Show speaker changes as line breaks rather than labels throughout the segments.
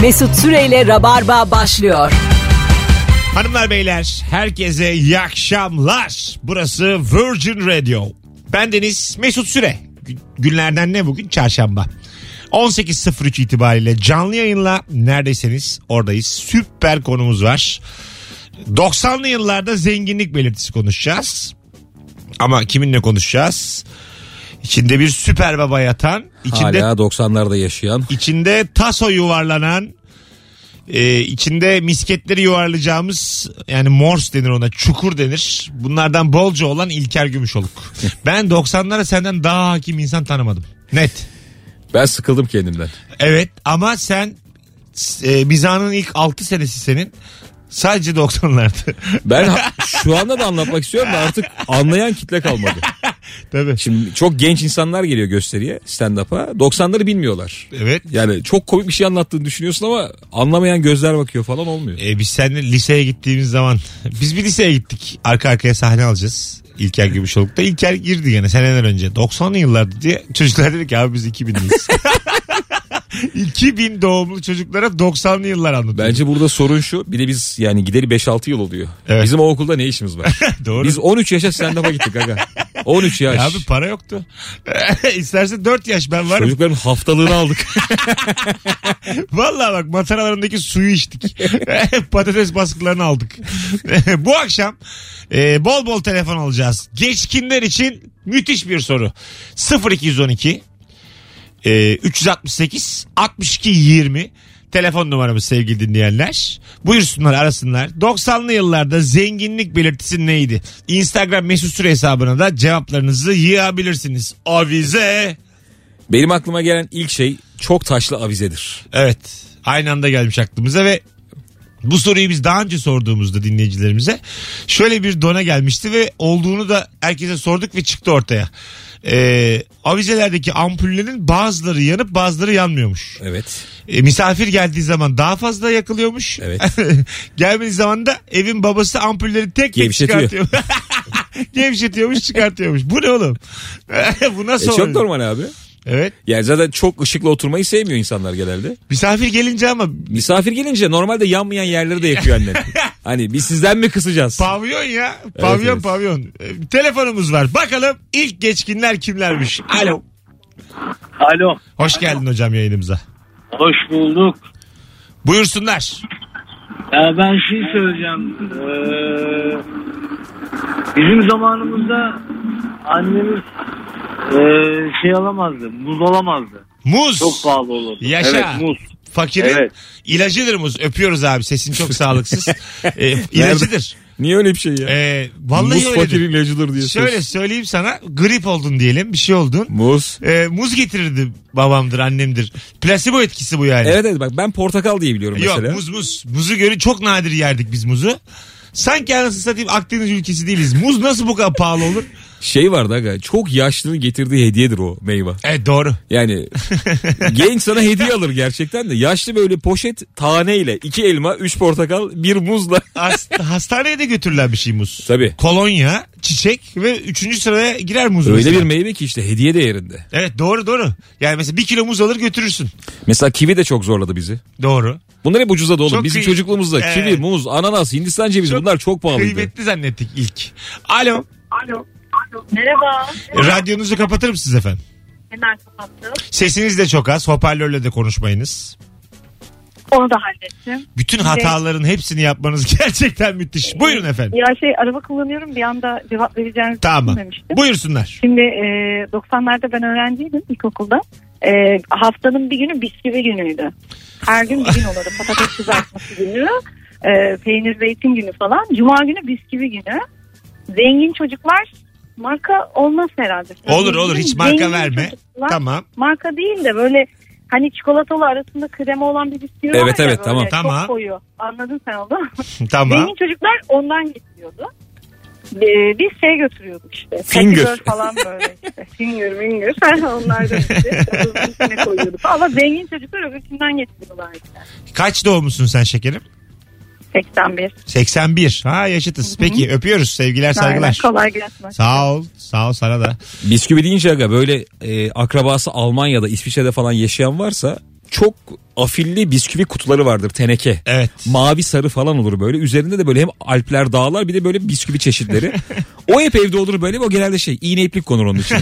Mesut Süreyle Rabarba başlıyor.
Hanımlar beyler herkese iyi akşamlar. Burası Virgin Radio. Ben Deniz Mesut Süre. Gü- Günlerden ne bugün? Çarşamba. 18.03 itibariyle canlı yayınla neredeyseniz oradayız. Süper konumuz var. 90'lı yıllarda zenginlik belirtisi konuşacağız. Ama kiminle konuşacağız? İçinde bir süper baba yatan, içinde
Hala 90'larda yaşayan.
İçinde taso yuvarlanan e, içinde misketleri yuvarlayacağımız yani morse denir ona çukur denir. Bunlardan bolca olan İlker Gümüşoluk. ben 90'lara senden daha hakim insan tanımadım. Net.
Ben sıkıldım kendimden.
Evet ama sen e, mizanın ilk 6 senesi senin. Sadece 90'lardı.
Ben ha- şu anda da anlatmak istiyorum da artık anlayan kitle kalmadı.
Tabii.
Şimdi çok genç insanlar geliyor gösteriye stand-up'a. 90'ları bilmiyorlar.
Evet.
Yani çok komik bir şey anlattığını düşünüyorsun ama anlamayan gözler bakıyor falan olmuyor.
E, biz seninle liseye gittiğimiz zaman biz bir liseye gittik. Arka arkaya sahne alacağız. İlker Gümüşoluk'ta. İlker girdi gene seneler önce. 90'lı yıllarda diye çocuklar dedi ki abi biz 2000'liyiz. 2000 doğumlu çocuklara 90'lı yıllar anlatıyor.
Bence burada sorun şu. Bir de biz yani gideri 5-6 yıl oluyor.
Evet.
Bizim o okulda ne işimiz var?
Doğru.
Biz 13 yaşa stand-up'a gittik aga. 13 yaş.
Ya abi para yoktu. İstersen 4 yaş ben varım.
Çocukların haftalığını aldık.
Vallahi bak mataralarındaki suyu içtik. Patates baskılarını aldık. Bu akşam e, bol bol telefon alacağız. Geçkinler için müthiş bir soru. 0212 e, 368 62 20 telefon numaramız sevgili dinleyenler. Buyursunlar arasınlar. 90'lı yıllarda zenginlik belirtisi neydi? Instagram mesut süre hesabına da cevaplarınızı yığabilirsiniz. Avize.
Benim aklıma gelen ilk şey çok taşlı avizedir.
Evet. Aynı anda gelmiş aklımıza ve bu soruyu biz daha önce sorduğumuzda dinleyicilerimize şöyle bir dona gelmişti ve olduğunu da herkese sorduk ve çıktı ortaya. Ee, avizelerdeki ampullerin bazıları yanıp bazıları yanmıyormuş.
Evet.
Ee, misafir geldiği zaman daha fazla yakılıyormuş.
Evet.
Gelmediği zaman da evin babası ampulleri tek tek
Gevşetiyor.
çıkartıyor. Gevşetiyormuş çıkartıyormuş. Bu ne oğlum? bu
E
nasıl
çok
oluyor?
normal abi.
Evet.
Yani zaten çok ışıklı oturmayı sevmiyor insanlar genelde.
Misafir gelince ama
Misafir gelince normalde yanmayan yerleri de yakıyor annen. hani biz sizden mi kısacağız?
Pavyon ya. Pavyon
evet.
pavyon. Ee, telefonumuz var. Bakalım ilk geçkinler kimlermiş? Alo.
Alo.
Hoş geldin hocam yayınımıza.
Hoş bulduk.
Buyursunlar.
Ya ben şey söyleyeceğim. Ee, bizim zamanımızda annemiz ee, şey alamazdı. Muz alamazdı.
Muz.
Çok pahalı olurdu.
Yaşa.
Evet muz.
Fakirin
Evet.
ilacıdır muz. Öpüyoruz abi. Sesin çok sağlıksız. Ee, ilacıdır.
Niye öyle bir şey ya?
Ee, vallahi
Muz
öyledir.
fakirin ilacıdır diye.
Şöyle
söz.
söyleyeyim sana. Grip oldun diyelim. Bir şey oldun.
Muz.
Ee, muz getirirdi babamdır, annemdir. Plasebo etkisi bu yani.
Evet evet bak ben portakal diye biliyorum
Yok
mesela.
muz muz. Muzu görün çok nadir yerdik biz muzu. Sanki anasını satayım Akdeniz ülkesi değiliz. Muz nasıl bu kadar pahalı olur?
Şey vardı aga çok yaşlının getirdiği hediyedir o meyve.
Evet doğru.
Yani genç sana hediye alır gerçekten de. Yaşlı böyle poşet taneyle iki elma, üç portakal, bir muzla.
Hast- hastaneye de götürülen bir şey muz.
Tabii.
Kolonya, çiçek ve üçüncü sıraya girer muz.
Öyle
mesela.
bir meyve ki işte hediye değerinde.
Evet doğru doğru. Yani mesela bir kilo muz alır götürürsün.
Mesela kivi de çok zorladı bizi.
Doğru.
Bunlar hep ucuza da oğlum.
Çok
Bizim
kıy-
çocukluğumuzda
Evet.
kivi, muz, ananas, Hindistan cevizi bunlar çok pahalıydı.
Kıymetli zannettik ilk. Alo.
Merhaba.
Radyonuzu kapatır mısınız efendim?
Hemen kapattım.
Sesiniz de çok az. Hoparlörle de konuşmayınız.
Onu da hallettim.
Bütün hataların hepsini yapmanız gerçekten müthiş. Buyurun efendim.
Ya şey araba kullanıyorum bir anda cevap vereceğinizi
Tamam.
düşünmemiştim.
Buyursunlar.
Şimdi e, 90'larda ben öğrenciydim ilkokulda. E, haftanın bir günü bisküvi günüydü. Her gün bir gün olurdu. Patates kızartması günü, e, peynir zeytin günü falan. Cuma günü bisküvi günü. Zengin çocuklar marka olmaz herhalde.
Olur olur hiç marka
Zengin
verme.
çocuklar-
Tamam.
marka değil de böyle hani çikolatalı arasında krema olan bir bisküvi var
Evet,
ya
evet,
böyle
tamam.
çok
Tamam.
koyu. Anladın sen onu.
Tamam.
Zengin çocuklar ondan getiriyordu. Ee, biz şey götürüyorduk işte.
Finger.
Happy Bird falan böyle işte. Finger finger. Onlar da işte. Onun içine koyuyorduk. Ama zengin çocuklar öbürkünden getiriyorlar işte.
Kaç doğumlusun sen şekerim?
81.
81. Ha yaşıtız. Peki öpüyoruz. Sevgiler
Aynen,
saygılar.
Kolay gelsin.
Sağ ol. Sağ ol sana da.
Bisküvi deyince aga böyle e, akrabası Almanya'da, İsviçre'de falan yaşayan varsa çok afilli bisküvi kutuları vardır teneke.
Evet.
Mavi sarı falan olur böyle. Üzerinde de böyle hem alpler dağlar bir de böyle bisküvi çeşitleri. o hep evde olur böyle. O genelde şey iğne iplik konur onun için.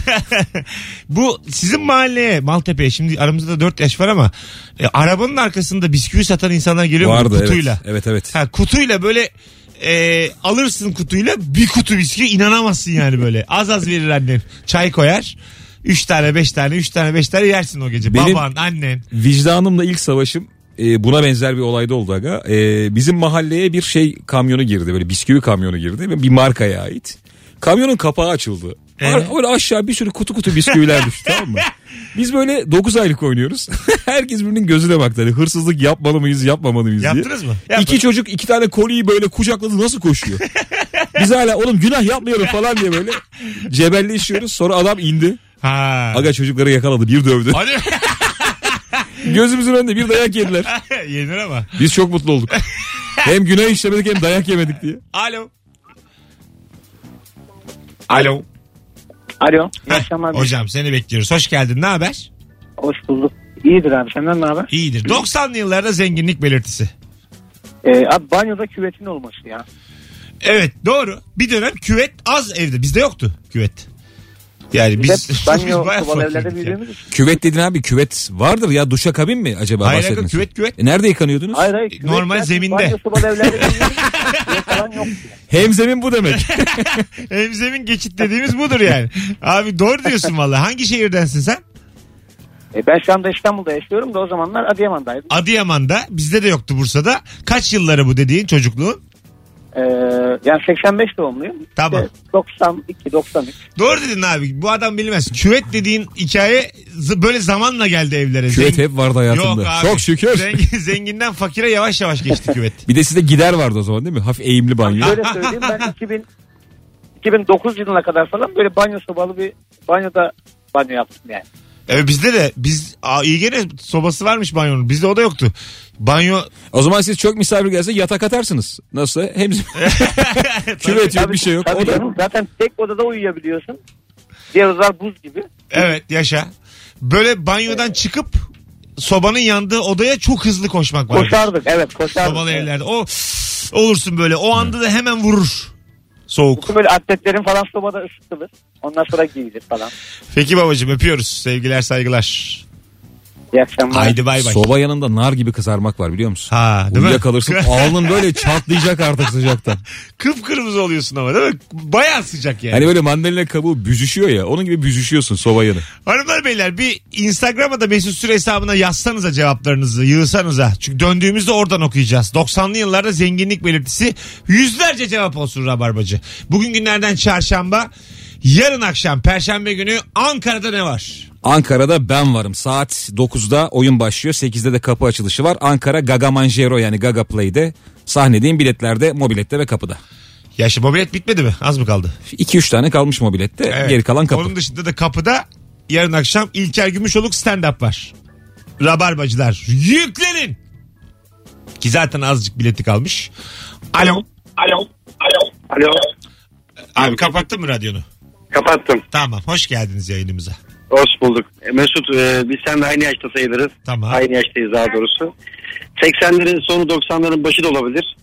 Bu sizin mahalleye Maltepe'ye şimdi aramızda 4 yaş var ama e, arabanın arkasında bisküvi satan insanlar geliyor mu
Vardı
kutuyla?
evet. Evet evet.
Ha, kutuyla böyle e, alırsın kutuyla bir kutu bisküvi inanamazsın yani böyle. az az verir annem. Çay koyar. 3 tane 5 tane 3 tane 5 tane yersin o gece.
Benim-
Baban annen.
Vicdanımla ilk savaşım e, buna benzer bir olayda oldu aga. E, bizim mahalleye bir şey kamyonu girdi böyle bisküvi kamyonu girdi ve bir markaya ait. Kamyonun kapağı açıldı.
Ee?
Ar- Böyle aşağı bir sürü kutu kutu bisküviler düştü tamam mı? Biz böyle 9 aylık oynuyoruz. Herkes birbirinin gözüne baktı. Hani hırsızlık yapmalı mıyız yapmamalı mıyız diye.
Yaptınız mı? Yapın.
İki çocuk iki tane koliyi böyle kucakladı nasıl koşuyor? Biz hala oğlum günah yapmıyorum falan diye böyle cebelleşiyoruz. Sonra adam indi.
Ha.
Aga çocukları yakaladı bir dövdü.
Hadi.
Gözümüzün önünde bir dayak yediler.
Yenir ama.
Biz çok mutlu olduk. hem günah işlemedik hem dayak yemedik diye.
Alo. Alo.
Alo.
Heh,
İyi akşamlar.
Hocam seni bekliyoruz. Hoş geldin. Ne haber?
Hoş bulduk. İyidir abi. Senden ne haber?
İyidir. 90'lı yıllarda zenginlik belirtisi.
Ee, abi banyoda küvetin olması ya.
Evet doğru. Bir dönem küvet az evde. Bizde yoktu küvet. Yani
Biz,
biz,
hep banyo
bayağı
kovalı evlerde
fakirdik ya.
büyüdüğümüz için.
Küvet dedin abi küvet vardır ya duşa kabin mi acaba
Hayır
bahsettiğiniz?
hayır, küvet küvet.
E, nerede yıkanıyordunuz?
Hayır hayır. küvet
Normal
ya,
zeminde.
Banyo kovalı evlerde büyüdüğümüz için küvet falan yoktu. ya.
Hemzemin bu demek.
Emzemin geçit dediğimiz budur yani. Abi doğru diyorsun valla. Hangi şehirdensin sen?
E, ben şu anda İstanbul'da yaşıyorum da o zamanlar Adıyaman'daydım.
Adıyaman'da. Bizde de yoktu Bursa'da. Kaç yılları bu dediğin çocukluğun?
Ee, yani 85 doğumluyum.
Tamam.
İşte 92, 93.
Doğru dedin abi. Bu adam bilmez. Küvet dediğin hikaye z- böyle zamanla geldi evlere.
küvet
Zengin-
hep vardı hayatımda.
Yok abi.
Çok şükür.
Zengin- zenginden fakire yavaş yavaş geçti küvet.
Bir de sizde gider vardı o zaman değil mi? Hafif eğimli banyo.
Şöyle söyleyeyim ben 2000, 2009 yılına kadar falan böyle banyo sobalı bir banyoda banyo yaptım yani.
Evet E, bizde de biz aa, iyi gene sobası varmış banyonun. Bizde o da yoktu. Banyo
o zaman siz çok misafir gelse yatak atarsınız. Nasıl? Hemzem. küvet yok
Tabii-
bir şey yok.
tabii
O da-
canım, Zaten tek odada uyuyabiliyorsun. Diğer odalar buz gibi.
evet yaşa. Böyle banyodan çıkıp sobanın yandığı odaya çok hızlı koşmak var.
Koşardık evet koşardık.
Sobalı
Evet.
evlerde. O olursun böyle. O anda da hemen vurur. Soğuk.
Bütün böyle atletlerin falan sobada ısıtılır. Ondan sonra giyilir falan.
Peki babacığım öpüyoruz. Sevgiler saygılar.
İyi akşamlar.
Haydi bay bay.
Soba yanında nar gibi kızarmak var biliyor musun?
Ha, değil mi?
Uyuyakalırsın alnın böyle çatlayacak artık sıcaktan.
Kıpkırmızı oluyorsun ama değil mi? Baya sıcak yani.
Hani böyle mandalina kabuğu büzüşüyor ya onun gibi büzüşüyorsun soba yanı.
Hanımlar beyler bir Instagram'a da Mesut Süre hesabına yazsanıza cevaplarınızı yığsanıza. Çünkü döndüğümüzde oradan okuyacağız. 90'lı yıllarda zenginlik belirtisi yüzlerce cevap olsun Rabarbacı. Bugün günlerden çarşamba yarın akşam perşembe günü Ankara'da ne var?
Ankara'da ben varım. Saat 9'da oyun başlıyor. 8'de de kapı açılışı var. Ankara Gaga Manjero yani Gaga Play'de. Sahnedeyim biletlerde, mobilette ve kapıda.
Yaşı mobilet bitmedi mi? Az mı kaldı?
2-3 tane kalmış mobilette. Geri kalan kapı.
Onun dışında da kapıda yarın akşam İlker Gümüşoluk stand-up var. Rabarbacılar yüklenin. Ki zaten azıcık bileti kalmış. Alo.
Alo. Alo. Alo.
Abi kapattın mı radyonu?
Kapattım.
Tamam hoş geldiniz yayınımıza.
Hoş bulduk. E, Mesut e, biz seninle aynı yaşta sayılırız.
Tamam.
Aynı yaştayız daha doğrusu. 80'lerin sonu 90'ların başı da olabilir.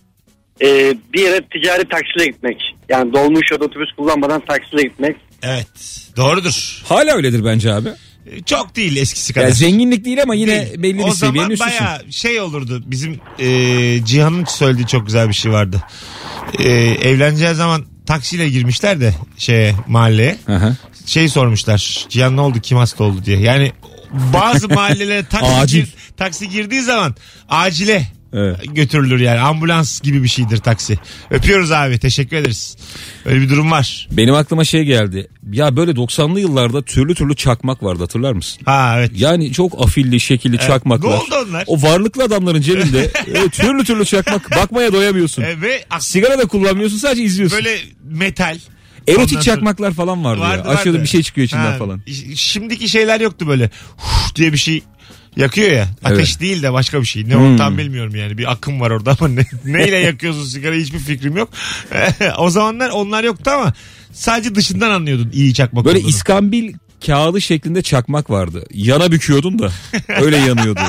E, bir yere ticari taksiyle gitmek. Yani dolmuş ya da otobüs kullanmadan taksiyle gitmek.
Evet doğrudur.
Hala öyledir bence abi.
Ee, Çok değil eskisi kadar.
Ya zenginlik değil ama yine
Değil.
belli bir
o
seviyenin
zaman
üstüsün.
baya şey olurdu bizim e, Cihan'ın söylediği çok güzel bir şey vardı. E, evleneceği zaman taksiyle girmişler de şeye mahalleye.
Aha.
şey sormuşlar. Cihan ne oldu kim hasta oldu diye. Yani bazı mahallelere taksi,
Acil.
gir- taksi girdiği zaman acile
Evet.
götürülür yani. Ambulans gibi bir şeydir taksi. Öpüyoruz abi teşekkür ederiz. Öyle bir durum var.
Benim aklıma şey geldi. Ya böyle 90'lı yıllarda türlü türlü çakmak vardı hatırlar mısın?
Ha evet.
Yani çok afilli şekilli çakmaklar.
Ne oldu onlar?
O varlıklı adamların cebinde e, türlü türlü çakmak bakmaya doyamıyorsun.
E, ve ak-
Sigara da kullanmıyorsun sadece izliyorsun.
böyle metal. Ondan
Erotik
sonra-
çakmaklar falan vardı,
Vardı,
ya. Açıyordu
vardı.
bir şey çıkıyor içinden
Ha,
falan.
ş- Şimdiki şeyler yoktu böyle. Huf diye bir şey yakıyor ya. Ateş
Evet.
değil de başka bir şey. Ne
Hmm.
o tam bilmiyorum yani. Bir akım var orada ama ne, neyle yakıyorsun sigarayı hiçbir fikrim yok. o zamanlar onlar yoktu ama sadece dışından anlıyordun iyi çakmak
Böyle
olduğunu.
iskambil kağıdı şeklinde çakmak vardı. Yana büküyordun da öyle yanıyordu.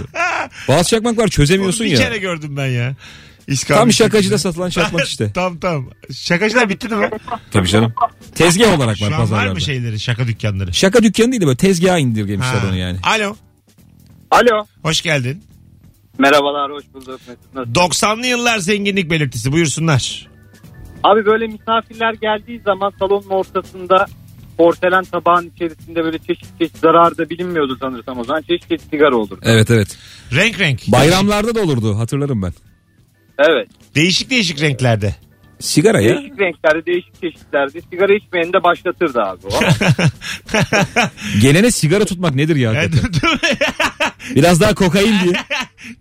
Bazı çakmaklar çözemiyorsun
Onu bir
ya.
kere gördüm ben ya. İskambil
Tam şakacıda
şeklinde.
satılan çakmak işte.
tam tam. Şakacılar bitti değil mi?
Tabii canım. Tezgah olarak
Şu
var
an var
pazarlarda.
mı şeyleri şaka dükkanları?
Şaka dükkanı değil de böyle tezgaha indirgemişler
Ha.
onu yani.
Alo.
Alo.
Hoş geldin.
Merhabalar hoş bulduk Mesut. Nasılsın?
90'lı yıllar zenginlik belirtisi buyursunlar.
Abi böyle misafirler geldiği zaman salonun ortasında portelen tabağın içerisinde böyle çeşit çeşit zararı da bilinmiyordu sanırsam o zaman. Çeşit çeşit sigara olur.
Evet evet.
Renk renk.
Bayramlarda da olurdu hatırlarım ben.
Evet.
Değişik değişik renklerde.
Sigara ya.
Değişik renklerde değişik çeşitlerde sigara içmeyeni de başlatırdı abi. O.
Gelene sigara tutmak nedir ya?
Yani,
hakikaten? Biraz daha kokain diye.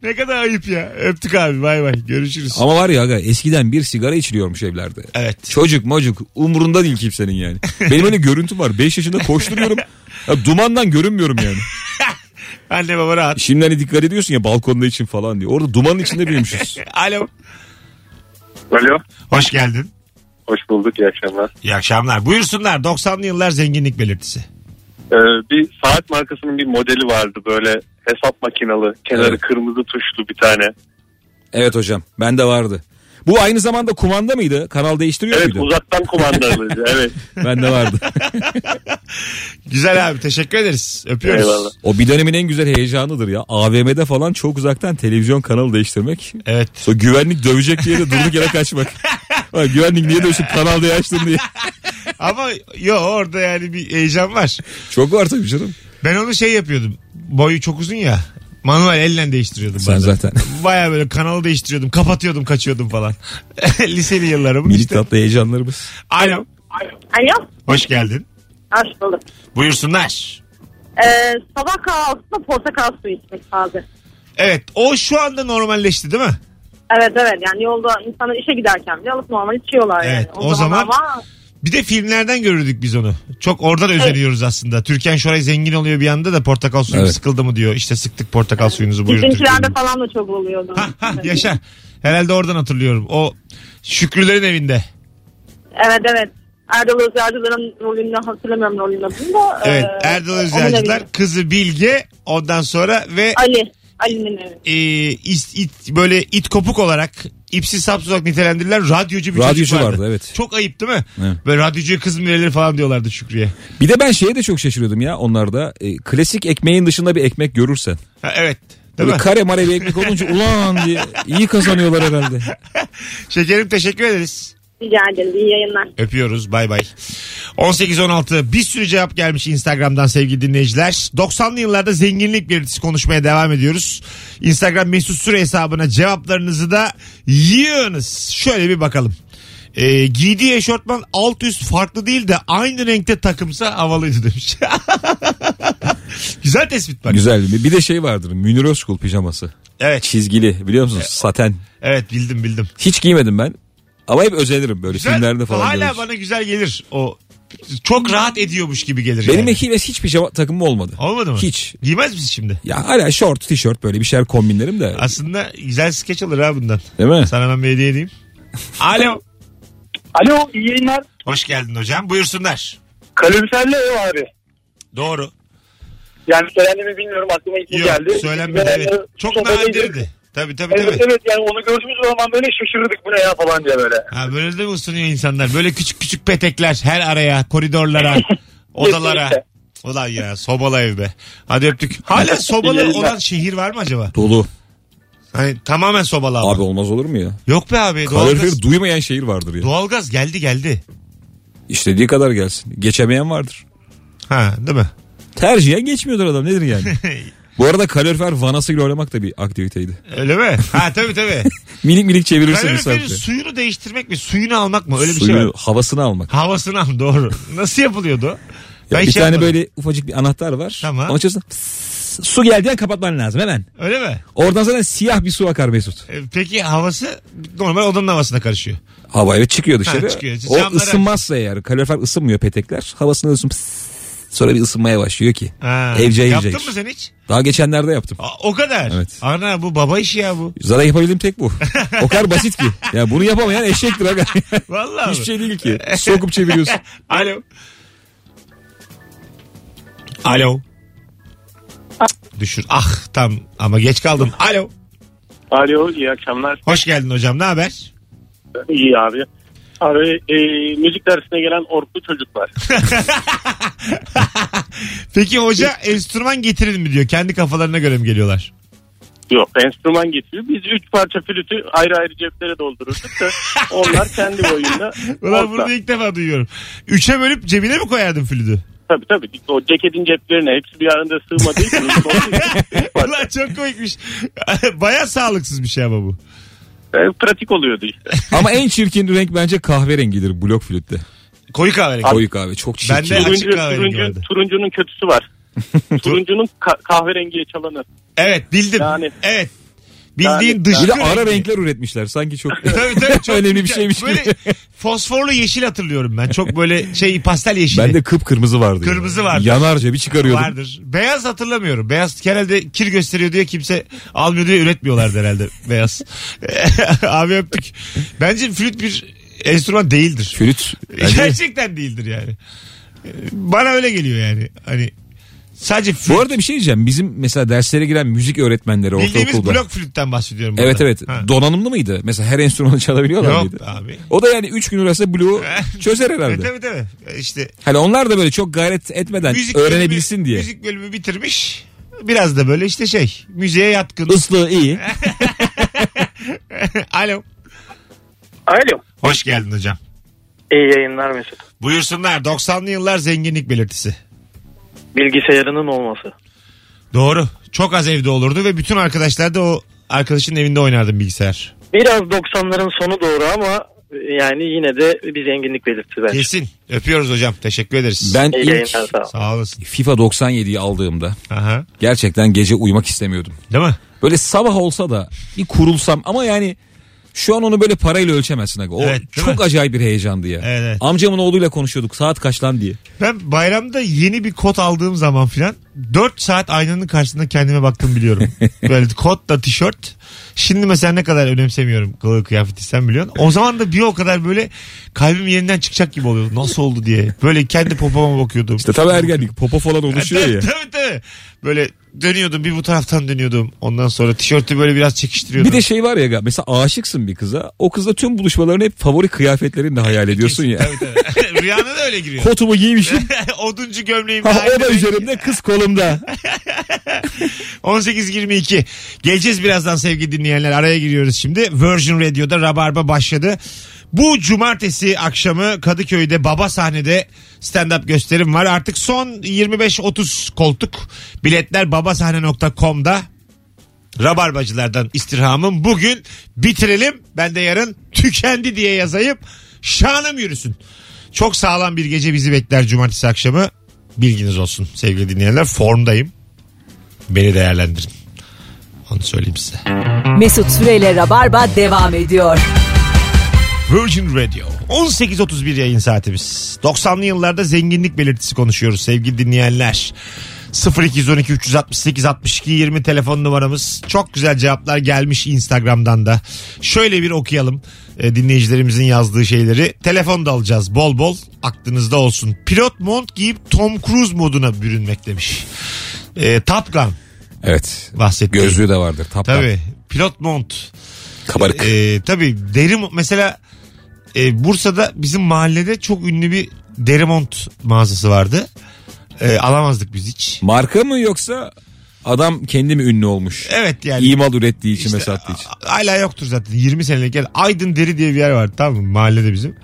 ne kadar ayıp ya. Öptük abi bay bay. Görüşürüz.
Ama var ya aga eskiden bir sigara içiliyormuş evlerde.
Evet.
Çocuk mocuk umurunda değil kimsenin yani. Benim öyle görüntüm var. 5 yaşında koşturuyorum. Ya dumandan görünmüyorum yani.
Anne baba rahat.
Şimdi hani dikkat ediyorsun ya balkonda için falan diye. Orada dumanın içinde büyümüşüz.
Alo.
Alo.
Hoş geldin.
Hoş bulduk. iyi akşamlar.
İyi akşamlar. Buyursunlar 90'lı yıllar zenginlik belirtisi.
Ee, bir saat markasının bir modeli vardı böyle hesap makinalı kenarı
Evet.
kırmızı tuşlu bir tane.
Evet hocam bende vardı. Bu aynı zamanda kumanda mıydı? Kanal değiştiriyor
Evet
muydu?
uzaktan kumandalıydı evet.
Bende vardı.
Güzel abi teşekkür ederiz. Öpüyoruz.
Eyvallah.
o bir dönemin en güzel heyecanıdır ya. AVM'de falan çok uzaktan televizyon kanalı değiştirmek.
Evet.
Sonra güvenlik dövecek diye de durduk yere kaçmak. Ulan güvenlik niye dövüştü kanal diye açtın diye.
Ama yo orada yani bir heyecan var.
Çok var tabii canım.
Ben onu şey yapıyordum. Boyu çok uzun ya. Manuel elle değiştiriyordum
Sen
bazen.
zaten.
Baya böyle kanalı değiştiriyordum. Kapatıyordum kaçıyordum falan. Liseli yıllarım.
Minik
işte.
tatlı heyecanlarımız.
Alo.
Alo.
Hoş geldin.
Hoş bulduk.
Buyursunlar.
Ee, sabah kahvaltısında portakal suyu içmek taze.
Evet o şu anda normalleşti değil mi?
Evet evet yani yolda insanlar işe giderken bile alıp normal içiyorlar
Evet,
yani.
o zaman-
ama
Bir de filmlerden görürdük biz onu. Çok oradan özeniyoruz aslında. Türkan Şoray zengin oluyor bir anda da portakal suyu
Evet.
sıkıldı mı diyor. İşte sıktık portakal suyunuzu buyurun. Türkiye'nin.
bizimkilerde falan da çok oluyordu.
Ha, ha, yaşa. Herhalde oradan hatırlıyorum. O Şükrülerin evinde.
Evet evet. Erdal Özyağcılar'ın rolünü hatırlamıyorum rolünün adını da.
Evet.
ee,
Erdal
onun
Özyağcılar,
evi.
kızı Bilge ondan sonra ve
Ali. Ali'nin evi.
e, is- it- böyle it kopuk olarak ipsiz sapsız olarak nitelendirilen radyocu bir
Radyocu
çocuk vardı.
vardı, evet.
Çok ayıp değil mi?
Evet.
Böyle radyocuya kız mı verilir falan diyorlardı Şükrü'ye.
Bir de ben şeye de çok şaşırıyordum ya onlarda. E, klasik ekmeğin dışında bir ekmek görürsen.
Ha, evet. Değil
Böyle
mi?
kare mare bir ekmek olunca ulan diye iyi kazanıyorlar herhalde.
Şekerim teşekkür ederiz.
Rica ederim. İyi yayınlar.
Öpüyoruz. Bay bay. 18-16 bir sürü cevap gelmiş Instagram'dan sevgili dinleyiciler. 90'lı yıllarda zenginlik belirtisi konuşmaya devam ediyoruz. Instagram mesut süre hesabına cevaplarınızı da yığınız. Şöyle bir bakalım. Ee, giydiği eşortman alt üst farklı değil de aynı renkte takımsa havalıydı demiş. Güzel tespit bak.
Güzel. Bir- Bir de şey vardır. Münir Özkul pijaması.
Evet,
Çizgili biliyor
E,
musunuz? Saten.
evet bildim bildim.
Hiç giymedim ben. Ama hep özenirim böyle
Güzel,
filmlerde falan.
hala
görürüz.
bana güzel gelir o. Çok rahat ediyormuş gibi gelir.
Benim
yani.
ekiyle hiç pijama takımım olmadı.
Olmadı mı?
Hiç.
Giymez misin şimdi?
Ya hala şort, tişört böyle bir şeyler kombinlerim de.
Aslında güzel skeç olur ha bundan.
Değil mi?
Sana ben bir hediye edeyim. Alo.
Alo iyi yayınlar.
Hoş geldin hocam. Buyursunlar.
Kaloriferli ev abi.
Doğru.
Yani söylendiğimi bilmiyorum aklıma ilk bu
Yok
geldi.
söylenmedi.
Ben,
Evet.
e,
Çok
sobadaydık.
nadirdi. Tabii tabii
Evet
tabii.
evet yani onu gördüğümüz zaman böyle şaşırdık bu ne ya falan diye böyle.
Ha, böyle de mi ısınıyor insanlar? Böyle küçük küçük petekler her araya, koridorlara, odalara.
Kesinlikle.
Ulan ya sobalı ev be. Hadi öptük. Hala sobalı
İyi
olan şehir var mı acaba?
Dolu.
Hani tamamen sobalı ama.
Abi olmaz olur mu ya?
Yok be abi. Doğalgaz,
Kalorifer duymayan şehir vardır ya.
doğalgaz geldi geldi.
İstediği kadar gelsin. Geçemeyen vardır.
Ha değil mi?
Tercihen geçmiyordur adam nedir yani? Bu arada kalorifer vanasıyla oynamak da bir aktiviteydi.
Öyle mi? Ha tabii tabii.
Minik minik çevirirsin
Kaloriferin
misafire.
suyunu değiştirmek mi? Suyunu almak mı? Öyle bir şey var.
Suyu havasını almak.
Havasını al doğru. Nasıl yapılıyordu?
Ya
Ben
bir
hiç
tane
yapmadım.
böyle ufacık bir anahtar var.
Tamam.
Onun içerisinde pss- su geldiğinde kapatman lazım hemen.
Öyle mi?
Oradan zaten siyah bir su akar Mesut.
E, Peki havası normal odanın havasına karışıyor.
Hava evet çıkıyor dışarı.
çıkıyor.
O
Camları-
ısınmazsa eğer kalorifer ısınmıyor petekler. Havasını ısın pss- sonra bir ısınmaya başlıyor ki.
Ha.
Evce yiyecek.
Yaptın mı sen hiç?
Daha geçenlerde yaptım.
A, o kadar.
Evet.
Ana bu baba işi ya bu.
Zaten yapabildiğim tek bu. O kadar basit ki. Ya bunu yapamayan eşektir aga.
Vallahi.
Hiçbir
mi?
şey değil ki. Sokup çeviriyorsun.
Alo. Alo. düşür. Ah tam ama geç kaldım. Alo.
Alo iyi akşamlar.
Hoş geldin hocam. Ne haber?
İyi abi. Abi e, müzik dersine gelen orklu çocuklar.
Peki hoca enstrüman getirin mi diyor. Kendi kafalarına göre mi geliyorlar?
Yok enstrüman getiriyor. Biz üç parça flütü ayrı ayrı ceplere doldururduk da onlar kendi boyunda.
Ulan
orta.
bunu ilk defa duyuyorum. Üçe bölüp cebine mi koyardın flütü?
Tabii tabii. O ceketin ceplerine hepsi bir arada sığmadığı için. Olduğu için üç parça.
Ulan çok komikmiş. Baya sağlıksız bir şey ama bu.
E, pratik oluyordu işte.
Ama en çirkin renk bence kahverengidir blok flütte.
Koyu kahverengi.
Koyu kahve çok çirkin.
Ben de- Açık
Turuncu,
kahverengi vardı.
turuncu, turuncunun kötüsü var. Turuncunun ka- kahverengiye çalanı.
Evet bildim.
Yani-
evet. Bildiğin
Yani-
dış
Bir de
rengi.
ara renkler üretmişler sanki çok.
Tabii tabii çok
Önemli bir
güzel.
şeymiş gibi.
Böyle fosforlu yeşil hatırlıyorum ben. Çok böyle şey pastel yeşili.
ben de kıpkırmızı vardı. yani.
Kırmızı vardı.
Yanarca bir çıkarıyordum.
vardır. Beyaz hatırlamıyorum. Beyaz herhalde kir gösteriyor diye kimse almıyor diye üretmiyorlardı herhalde beyaz. Abi öptük. Bence flüt bir enstrüman değildir.
Flüt. bence-
Gerçekten değildir yani. Bana öyle geliyor yani. Hani sadece flüt.
Bu arada bir şey diyeceğim. Bizim mesela derslere giren müzik öğretmenleri
bildiğimiz
ortaokulda.
blok flütten bahsediyorum. bu
Evet
arada.
evet.
Ha.
Donanımlı mıydı? Mesela her enstrümanı çalabiliyorlar
Yok
mıydı?
abi.
O da yani 3 gün arası bloğu çözer
E,
herhalde.
tabii tabii. İşte
Hani onlar da böyle çok gayret etmeden
bölümü-
Hani öğrenebilsin diye.
Müzik bölümü bitirmiş. Biraz da böyle işte şey müziğe yatkın.
Islığı iyi.
E, Alo.
Alo.
Hoş geldin hocam.
İyi yayınlar Mesut.
Buyursunlar 90'lı yıllar zenginlik belirtisi.
Bilgisayarının olması.
Doğru. Çok az evde olurdu ve bütün arkadaşlar da o arkadaşın evinde oynardı bilgisayar.
Biraz 90'ların sonu doğru ama e, yani yine de bir zenginlik belirtti bence.
Kesin. Öpüyoruz hocam. Teşekkür ederiz.
Ben
İyi
ilk
yayınlar sağ ol.
Sağ olasın.
FIFA 97'yi aldığımda
Aha.
gerçekten gece uyumak istemiyordum.
Değil mi?
Böyle sabah olsa da bir kurulsam ama yani şu an onu böyle parayla ölçemezsin. Aga. O
Evet, değil
çok
mi?
acayip bir heyecandı ya.
Evet, evet.
Amcamın oğluyla konuşuyorduk saat kaç lan diye.
Ben bayramda yeni bir kot aldığım zaman filan 4 saat aynanın karşısında kendime baktım biliyorum. Böyle kotla tişört. Şimdi mesela ne kadar önemsemiyorum kılığı kıyafeti sen biliyorsun. O zaman da bir o kadar böyle kalbim yerinden çıkacak gibi oluyordu. Nasıl oldu diye. Böyle kendi popoma bakıyordum.
İşte tabii ergenlik popo falan oluşuyor ya.
tabii, tabii tabii. Böyle dönüyordum bir bu taraftan dönüyordum. Ondan sonra tişörtü böyle biraz çekiştiriyordum.
Bir de şey var ya aga, mesela aşıksın bir kıza. O kızla tüm buluşmalarını hep favori kıyafetlerini de hayal ediyorsun ya.
Tabii tabii. Rüyana da öyle giriyor.
Kotumu giymişim.
Oduncu gömleğim.
Ha, o da üzerimde kız kolumda.
18.22. Geleceğiz birazdan sevgili dinleyenler. Araya giriyoruz şimdi. Virgin Radio'da Rabarba başladı. Bu cumartesi akşamı Kadıköy'de Baba Sahne'de stand-up gösterim var. Artık son 25-30 koltuk. Biletler babasahne.com'da. Rabarbacılardan istirhamım. Bugün bitirelim. Ben de yarın tükendi diye yazayım. Şanım yürüsün. Çok sağlam bir gece bizi bekler cumartesi akşamı. Bilginiz olsun sevgili dinleyenler. Formdayım beni değerlendirin. Onu söyleyeyim size.
Mesut Süreyle Rabarba devam ediyor.
Virgin Radio. 18.31 yayın saatimiz. 90'lı yıllarda zenginlik belirtisi konuşuyoruz sevgili dinleyenler. 0212 368 62 20 telefon numaramız. Çok güzel cevaplar gelmiş Instagram'dan da. Şöyle bir okuyalım e, dinleyicilerimizin yazdığı şeyleri. Telefon da alacağız bol bol aklınızda olsun. Pilot mont giyip Tom Cruise moduna bürünmek demiş. E, Top Gun
Evet.
bahsettiğim.
Gözlüğü de vardır. Taptan.
Tabii. Pilot mont.
Kabarık.
Ee, tabii deri mo- mesela e, Bursa'da bizim mahallede çok ünlü bir deri mont mağazası vardı. Ee, alamazdık biz hiç.
Marka mı yoksa adam kendi mi ünlü olmuş?
Evet yani.
İyi mal ürettiği için
E- İşte,
ve sattığı için.
a- Hala yoktur zaten 20 senelik yer. Aydın Deri diye bir yer vardı tamam mı mahallede bizim.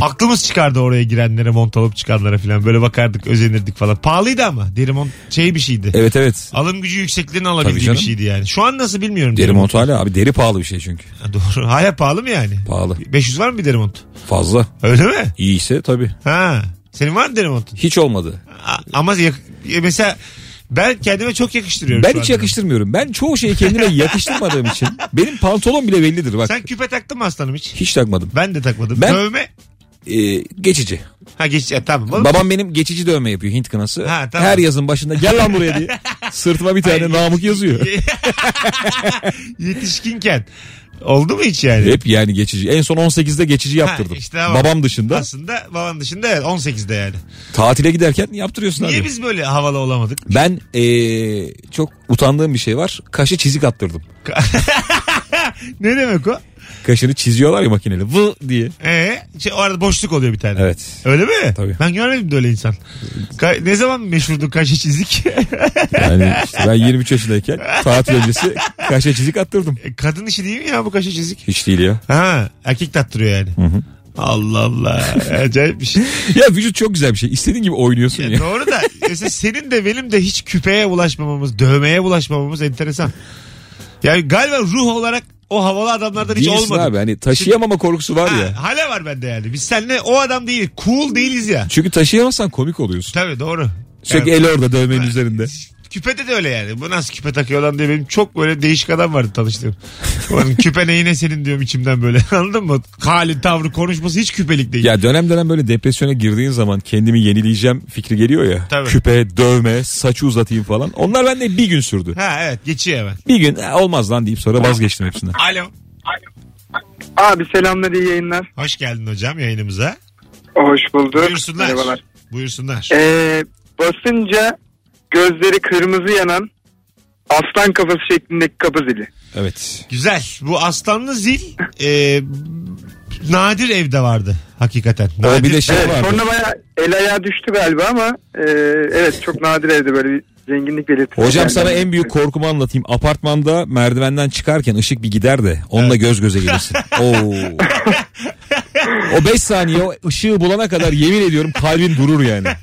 Aklımız çıkardı oraya girenlere mont alıp çıkanlara falan böyle bakardık özenirdik falan. Pahalıydı ama deri mont şey bir şeydi.
Evet evet.
Alım gücü yüksekliğini alabildiği bir
canım.
şeydi yani. Şu an nasıl bilmiyorum.
Deri mont hala abi deri pahalı bir şey çünkü.
Ha, Doğru. Hala pahalı mı yani?
Pahalı.
500 var mı bir deri mont?
Fazla.
Öyle mi?
İyiyse tabii.
Ha. Senin var mı deri montun?
Hiç olmadı.
A- Ama yak- e, mesela ben kendime çok yakıştırıyorum. şu
Ben hiç
anda.
yakıştırmıyorum. Ben çoğu şeyi kendime yakıştırmadığım için benim pantolon bile bellidir bak.
Sen küpe taktın mı aslanım hiç?
Hiç takmadım.
Ben de takmadım.
Ben-
Dövme.
Ee, geçici.
Ha geç ya, tamam. Oğlum,
Babam benim geçici dövme yapıyor Hint kınası.
Ha, tamam.
Her yazın başında gel lan buraya diye sırtıma bir tane
Hayır,
namık yazıyor.
yetişkinken Oldu mu hiç yani?
Hep yani geçici. En son 18'de geçici yaptırdım.
işte ama-
Babam dışında.
Aslında baban dışında evet 18'de yani.
Tatile giderken yaptırıyorsun
Niye
abi.
biz böyle havalı olamadık?
Ben ee, çok utandığım bir şey var. Kaşı çizik attırdım.
Ne demek o?
Kaşını çiziyorlar ya makineyle. Vı diye.
Ee, şey, o arada boşluk oluyor bir tane.
Evet.
Öyle mi?
Tabii.
Ben görmedim de öyle insan. Ka- ne zaman meşhurdu kaşı çizik?
Yani işte ben 23 yaşındayken tatil öncesi kaşa çizik attırdım.
Kadın işi değil mi ya bu kaşı çizik?
Hiç değil ya.
Ha, erkek tattırıyor yani. Allah Allah. Acayip bir şey.
Ya vücut çok güzel bir şey. İstediğin gibi oynuyorsun
Ya
ya.
doğru da mesela senin de benim de hiç küpeye bulaşmamamız, dövmeye bulaşmamamız enteresan. Yani galiba ruh olarak o havalı adamlardan hiç
Değilsin
olmadı.
abi hani taşıyamama korkusu var ya.
hala var bende yani. Biz seninle o adam değil, cool değiliz ya.
Çünkü taşıyamazsan komik oluyorsun.
Tabii doğru.
Sürekli
Yani
el orada dövmenin üzerinde.
Küpede de öyle yani. Bu nasıl küpe takıyor lan diye benim çok böyle değişik adam vardı tanıştığım. Ulan küpe neyine senin diyorum içimden böyle. Anladın mı? Hali, tavrı, konuşması hiç küpelik değil.
Ya dönem dönem böyle depresyona girdiğin zaman kendimi yenileyeceğim fikri geliyor ya.
Tabii.
Küpe, dövme, saçı uzatayım falan. Onlar bende bir gün sürdü.
Ha evet geçiyor hemen.
Bir gün "Ha, olmaz lan deyip sonra vazgeçtim hepsinden.
Alo.
Abi selamlar iyi yayınlar.
Hoş geldin hocam yayınımıza.
Hoş bulduk.
Buyursunlar.
Merhabalar.
Buyursunlar.
Ee, basınca gözleri kırmızı yanan aslan kafası şeklindeki kapı zili.
Evet.
Güzel. Bu aslanlı zil e, nadir evde vardı hakikaten. Nadir.
O bir de şey
Evet,
vardı.
sonra baya el ayağa düştü galiba ama e, evet çok nadir evde böyle bir zenginlik belirtisi.
Hocam
Yani.
sana en büyük korkumu anlatayım. Apartmanda merdivenden çıkarken ışık bir gider de onunla göz göze gelirsin. Oo. o 5 saniye o ışığı bulana kadar yemin ediyorum kalbin durur yani.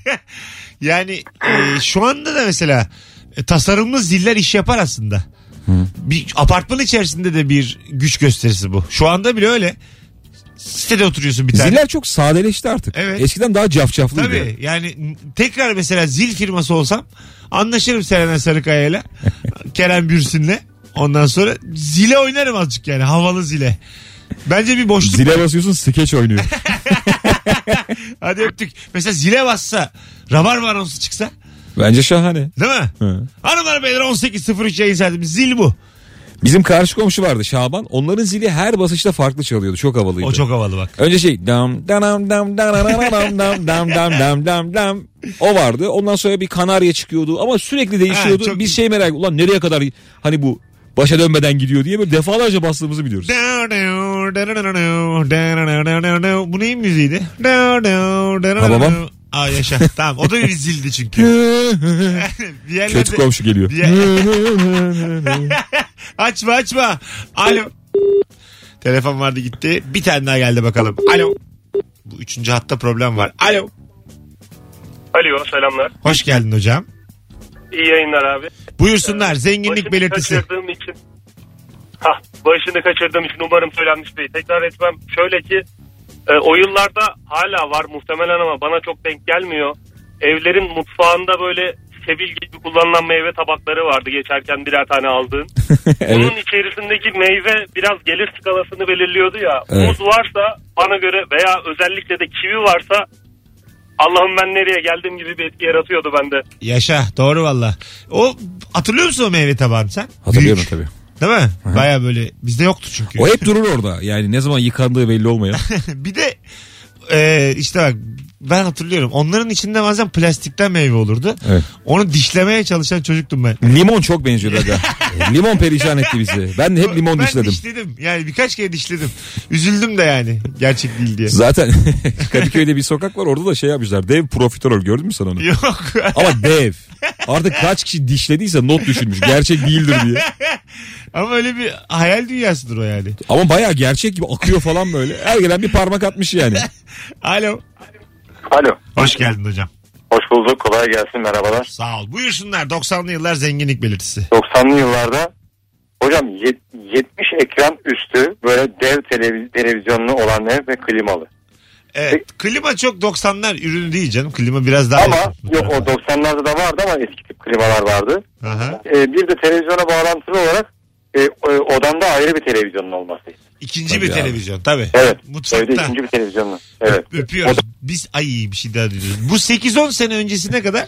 Yani e, şu anda da mesela e, tasarımlı ziller iş yapar aslında. Bir apartman içerisinde de bir güç gösterisi bu. Şu anda bile öyle. Sitede oturuyorsun bir tane.
Ziller çok sadeleşti artık.
Evet.
Eskiden daha cafcaflıydı.
Tabii yani tekrar mesela zil firması olsam anlaşırım Serena Sarıkaya'yla Kerem Bürsin'le ondan sonra zile oynarım azıcık yani havalı zile. Bence bir boşluk
Zile basıyorsun skeç oynuyor.
Hadi öptük. Mesela zile bassa rabarba anonsu çıksa
Bence şahane.
değil mi?
Hı.
Hanımlar beyler 18.03 yayın saatimiz zil bu.
Bizim karşı komşu vardı Şaban. Onların zili her basışta farklı çalıyordu. Çok havalıydı.
O çok havalı bak.
Önce şey dam dam dam dam dam dam dam dam dam dam dam o vardı. Ondan sonra bir kanarya çıkıyordu ama sürekli
Ha,
değişiyordu.
çok-
Biz şey merak ulan nereye kadar hani bu başa dönmeden gidiyor diye böyle defalarca bastığımızı biliyoruz.
Bu neyin müziğiydi? Ha
babam.
Aa yaşa. Tamam o da bir zildi çünkü. bir yerlerde...
Kötü komşu geliyor.
Bir- açma açma. Alo. Telefon vardı gitti. Bir tane daha geldi bakalım. Alo. Bu üçüncü hatta problem var. Alo.
Alo selamlar.
Hoş geldin hocam.
İyi yayınlar abi.
Buyursunlar zenginlik
Başını
belirtisi.
Kaçırdığım için... Hah, başını kaçırdığım için umarım söylenmiş değil. Tekrar etmem. Şöyle ki e, o yıllarda hala var muhtemelen ama bana çok denk gelmiyor. Evlerin mutfağında böyle sevil gibi kullanılan meyve tabakları vardı geçerken birer tane aldığın.
evet.
Bunun içerisindeki meyve biraz gelir skalasını belirliyordu ya.
Evet.
Muz varsa bana göre veya özellikle de kivi varsa Allah'ım ben nereye geldim gibi bir etki yaratıyordu bende.
Yaşa doğru valla. O hatırlıyor musun o meyve tabağını sen?
Hatırlıyorum
Büyük,
tabii.
Değil mi? Baya böyle bizde yoktu çünkü.
O hep durur orada. Yani ne zaman yıkandığı belli olmayan.
bir de e, işte bak ben hatırlıyorum. Onların içinde bazen plastikten meyve olurdu.
Evet.
Onu dişlemeye çalışan çocuktum ben.
Limon çok benziyor aga. E, limon perişan etti bizi. Ben de hep limon
ben
dişledim.
dişledim. Yani birkaç kere dişledim. Üzüldüm de yani. Gerçek değil diye.
Zaten Kadıköy'de bir sokak var orada da şey yapmışlar. Dev profiterol gördün mü sen onu?
Yok.
Ama dev. Artık kaç kişi dişlediyse not düşülmüş. Gerçek değildir diye.
Ama öyle bir hayal dünyasıdır o yani.
Ama bayağı gerçek gibi akıyor falan böyle. Her gelen bir parmak atmış yani.
Alo.
Alo.
Hoş geldin hocam.
Hoş bulduk. Kolay gelsin. Merhabalar.
Sağ ol. Buyursunlar 90'lı yıllar zenginlik belirtisi.
90'lı yıllarda hocam yet- 70 ekran üstü böyle dev televiz- televizyonlu olan ev ve klimalı.
Evet. Klima çok 90'lar ürünü değil canım. Klima biraz daha...
Ama yok o 90'larda da vardı ama eski tip klimalar vardı.
Aha.
Ee, bir de televizyona bağlantılı olarak e, e, odanda ayrı bir televizyonun olması.
İkinci
Tabii
bir
abi.
televizyon tabii.
Evet. Evde
Mutfakta.
ikinci bir televizyonlu. Evet.
Öpüyoruz. Biz ay bir şey daha diyoruz. Bu 8-10 sene öncesine kadar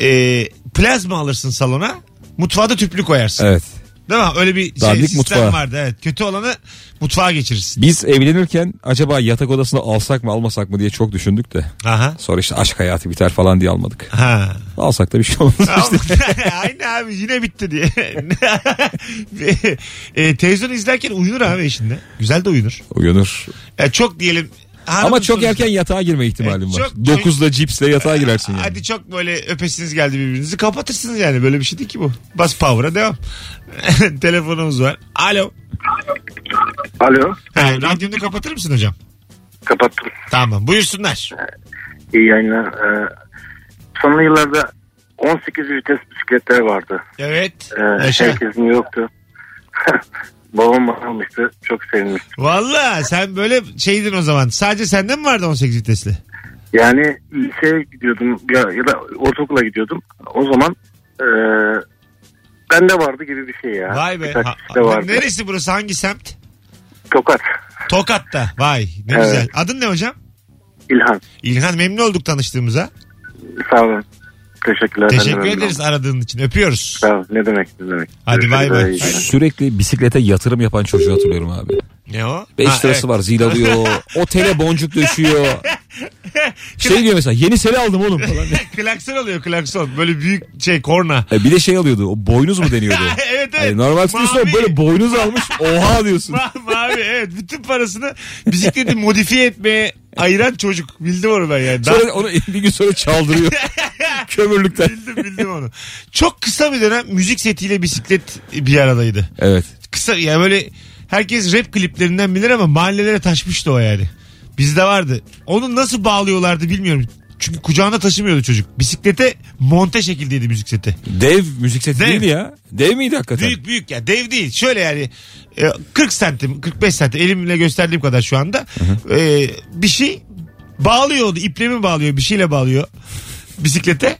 e, plazma alırsın salona. Mutfağa da tüplü koyarsın.
Evet.
Değil mi? Öyle bir şey,
Dandik
sistem
mutfağı.
vardı. Evet. Kötü olanı mutfağa geçirirsin.
Biz evlenirken acaba yatak odasını alsak mı almasak mı diye çok düşündük de.
Aha.
Sonra işte aşk hayatı biter falan diye almadık.
Ha.
Alsak da bir şey olmaz işte.
Aynı abi yine bitti diye. e, televizyon izlerken uyunur abi eşinde. Güzel de uyunur.
Uyanır.
Ya çok diyelim.
Ama
hanımın
çok
sonuçta-
erken yatağa girme ihtimalin
E,
var.
çok-
9'da cipsle yatağa girersin yani.
Hadi çok böyle öpesiniz geldi birbirinizi kapatırsınız yani. Böyle bir şey değil ki bu. Bas power'a devam. Telefonumuz var. Alo.
Alo.
Ha, radyonu kapatır mısın hocam?
Kapattım.
Tamam buyursunlar.
İyi yayınlar. Ee, son yıllarda 18 vites bisikletler vardı.
Evet.
Ee,
Yaşa.
herkesin yoktu. Babam almıştı. Çok sevinmiştim.
Valla sen böyle şeydin o zaman. Sadece sende mi vardı 18 vitesli?
Yani liseye gidiyordum ya, ya da ortaokula gidiyordum. O zaman e, bende vardı gibi bir şey ya.
Vay be.
Birkaç
Ha-
kişi de vardı.
neresi burası? Hangi semt?
Tokat.
Tokat'ta. Vay ne
Evet.
güzel. Adın ne hocam?
İlhan.
İlhan memnun olduk tanıştığımıza.
Sağ olun. Teşekkürler.
Teşekkür
Ben de
ederiz aradığın için. Öpüyoruz.
Sağ ol. Ne demek ne demek.
Hadi bay
Görüşürüz.
bay.
İyi günler.
Sürekli bisiklete yatırım yapan çocuğu hatırlıyorum abi.
Ne o?
5
Ha,
lirası
evet.
var zil alıyor. Otele boncuk döşüyor. şey diyor mesela yeni seri aldım oğlum falan.
klakson alıyor klakson. Böyle büyük şey korna.
E, bir de şey alıyordu o boynuz mu deniyordu?
evet evet.
Hani normal üstüne
Mavi.
böyle boynuz almış oha diyorsun.
Ma- mavi evet. Bütün parasını bisikleti modifiye etmeye ayıran çocuk. Bildim onu ben yani. Daha-
Sonra onu bir gün sonra çaldırıyor. Kömürlükten.
bildim bildim onu. Çok kısa bir dönem müzik setiyle bisiklet bir aradaydı.
Evet.
Kısa ya böyle herkes rap kliplerinden bilir ama mahallelere taşmıştı o yani. Bizde vardı. Onu nasıl bağlıyorlardı bilmiyorum. Çünkü kucağına taşımıyordu çocuk. Bisiklete monte şekildeydi müzik seti.
Dev müzik seti
Dev.
değil ya. Dev miydi hakikaten?
Büyük büyük ya dev değil. Şöyle yani e, 40 santim 45 santim elimle gösterdiğim kadar şu anda. E, bir şey bağlıyordu. iple mi bağlıyor bir şeyle bağlıyor bisiklete.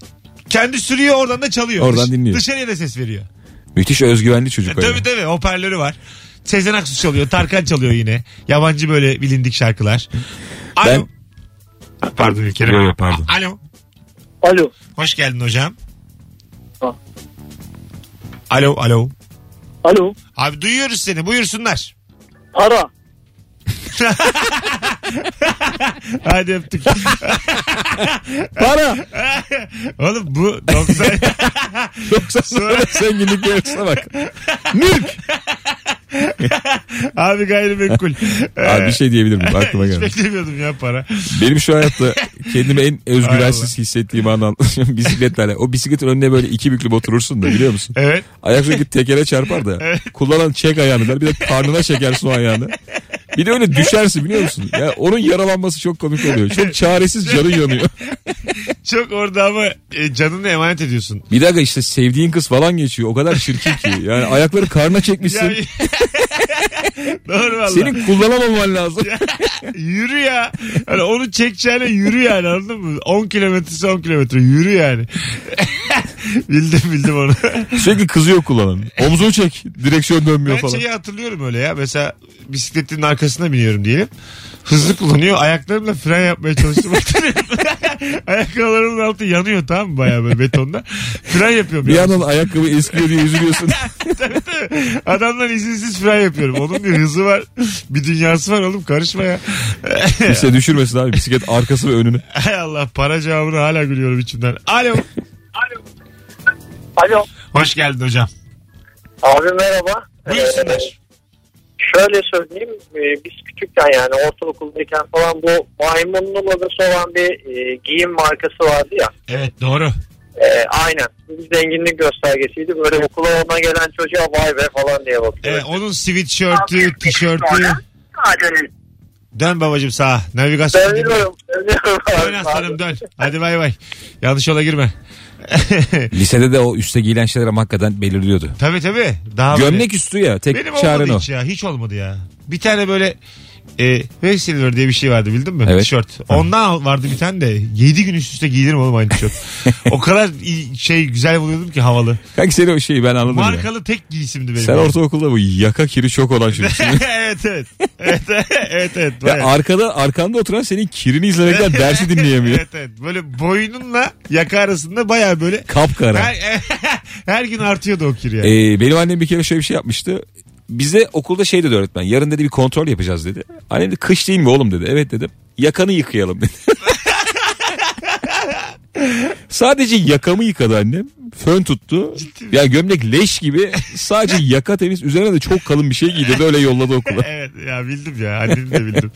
Kendi sürüyor oradan da çalıyor.
Oradan dinliyor.
Dışarıya da ses veriyor.
Müthiş özgüvenli çocuk. o yani.
E, Tabii tabii hoparlörü var. Sezen Aksu çalıyor. Tarkan çalıyor yine. Yabancı böyle bilindik şarkılar. Alo.
Ben-
Pardon İlker'im.
Yo, yo, pardon.
Alo.
Alo.
Hoş geldin hocam.
Ha.
Alo alo.
Alo.
Abi duyuyoruz seni. Buyursunlar.
Para.
Hadi öptük.
Para.
Oğlum bu 90...
Yoksa sonra zenginlik yarısına bak. Mülk.
Abi gayrimenkul. Ee,
Abi bir şey diyebilir miyim? Aklıma
Hiç
geldi.
beklemiyordum ya para.
Benim şu hayatta kendimi en
Hay
özgüvensiz hissettiğim an anlatacağım bisikletle. alakalı. O bisikletin önüne böyle iki büklüm oturursun da biliyor musun?
Evet.
Ayak sürekli tekere çarpar da. Kullanan çek ayağını der. Bir de karnına çekersin o ayağını. Bir de öyle düşersin biliyor musun? Ya onun yaralanması çok komik oluyor. Çok çaresiz canın yanıyor.
Çok orada ama e, canını emanet ediyorsun.
Bir dakika işte sevdiğin kız falan geçiyor. O kadar çirkin ki. Yani ayakları karnına çekmişsin.
Ya- Doğru valla.
Senin kullanamaman lazım.
Yürü ya. Hani onu çekeceğine yürü yani anladın mı? 10 kilometresi 10 kilometre yürü yani. bildim bildim onu.
Sürekli kızıyor kullanan. Omzunu çek. Direksiyon dönmüyor
Ben şey
falan.
şeyi hatırlıyorum öyle ya. Mesela bisikletin arkasına biniyorum diyelim. Hızlı kullanıyor. Ayaklarımla fren yapmaya çalıştım. Ayakkabılarımın altı yanıyor tamam mı? Bayağı böyle betonda. Fren yapıyorum.
Bir
ya.
yandan ayakkabı eskiyor diye üzülüyorsun.
Tabii, tabii. Adamdan izinsiz fren yapıyorum. Onun bir hızı var. Bir dünyası var oğlum karışma ya.
Kimse düşürmesin abi bisiklet arkası ve önünü.
Hay Allah para cevabını hala gülüyorum içimden. Alo.
Alo.
Hoş geldin hocam.
Abi merhaba.
Buyursunlar.
Şöyle söyleyeyim e, biz küçükken yani ortaokuldayken falan bu maymunlu modası olan bir e, giyim markası vardı ya.
Evet doğru. Ee,
E, aynen. Bir zenginlik göstergesiydi. Böyle okula ona gelen çocuğa vay be falan diye
Ee,
bakıyor.
onun sweatshirt'ü, tişörtü. Dön babacım sağa. Navigasyon.
Seviyorum. Seviyorum
Dön aslanım dön. Hadi bay bay. Yanlış yola girme.
Lisede de o üste giyilen şeyler ama hakikaten belirliyordu.
tabii tabii. Daha böyle-
Gömlek üstü ya tek
Benim
çaren
olmadı
o.
hiç ya. Hiç olmadı ya. Bir tane böyle e, Ve silver diye bir şey vardı bildin mi?
Evet.
Tişört. Ondan vardı bir tane de 7 gün üst üste giyinirim oğlum aynı tişört. o kadar iyi- şey güzel buluyordum ki havalı.
Kanki senin o şeyi ben anladım ya.
Markalı tek giysimdi benim.
Sen ortaokulda bu yaka kiri çok olan çocuksun.
evet evet. Evet evet. evet,
Ya
bayağı.
arkada arkanda oturan senin kirini izlemekten dersi dinleyemiyor.
evet evet. Böyle boynunla yaka arasında baya böyle
Kapkara.
her, her gün artıyordu o kir yani.
Ee, benim annem bir kere şöyle bir şey yapmıştı. Bize okulda şey dedi öğretmen. Yarın dedi bir kontrol yapacağız dedi. Annem dedi kış değil mi oğlum dedi. Evet dedim. Yakanı yıkayalım dedi. sadece yakamı yıkadı annem. Fön tuttu. Ya gömlek leş gibi. Sadece yaka temiz. Üzerine de çok kalın bir şey giydirdi. Öyle yolladı okula.
Evet ya bildim ya annemi de bildim.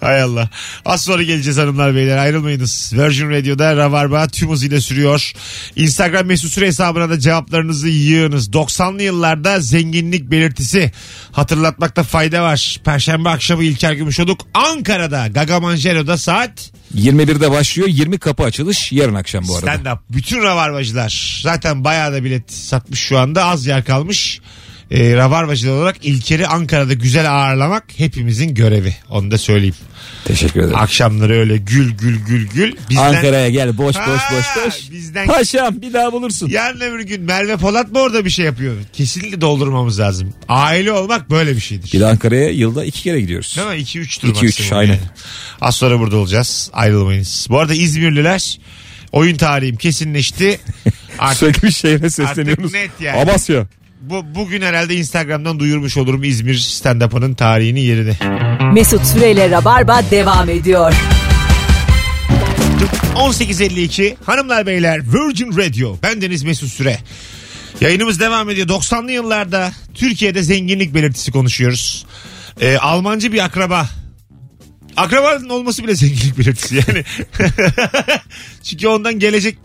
Hay Allah. Az sonra geleceğiz hanımlar beyler ayrılmayınız. Virgin Radio'da Rabarba tüm hızıyla sürüyor. Instagram mesut süre hesabına da cevaplarınızı yığınız. 90'lı yıllarda zenginlik belirtisi hatırlatmakta fayda var. Perşembe akşamı İlker Gümüşoluk Ankara'da Gaga Manjero'da saat
21'de başlıyor. 20 kapı açılış yarın akşam bu arada.
stand up. Bütün Rabarbacılar zaten bayağı da bilet satmış şu anda az yer kalmış. Ee, Rabarbacılar olarak İlker'i Ankara'da güzel ağırlamak hepimizin görevi. Onu da söyleyeyim.
Teşekkür ederim.
Akşamları öyle gül gül gül gül. Bizden...
Ankara'ya gel boş boş
Ha,
boş boş.
bizden-
Paşam bir daha bulursun.
Yarın öbür gün Merve Polat mı orada bir şey yapıyor? Kesinlikle doldurmamız lazım. Aile olmak böyle bir şeydir.
Bir de Ankara'ya yılda iki kere gidiyoruz.
Değil mi? 2-3 tur
İki, üç,
maksimum
aynen.
yani. Az sonra burada olacağız. Ayrılmayınız. Bu arada İzmirliler oyun tarihim kesinleşti. Artık
Sürekli bir şehre
Artık
sesleniyoruz.
net yani.
Amasya.
bu, bugün herhalde Instagram'dan duyurmuş olurum İzmir stand-up'ının tarihini yerini.
Mesut Süreyle Rabarba devam ediyor.
18.52 Hanımlar Beyler Virgin Radio. Ben Deniz Mesut Süre. Yayınımız devam ediyor. 90'lı yıllarda Türkiye'de zenginlik belirtisi konuşuyoruz. Ee, Almancı bir akraba. Akrabanın olması bile zenginlik belirtisi yani. Çünkü ondan gelecek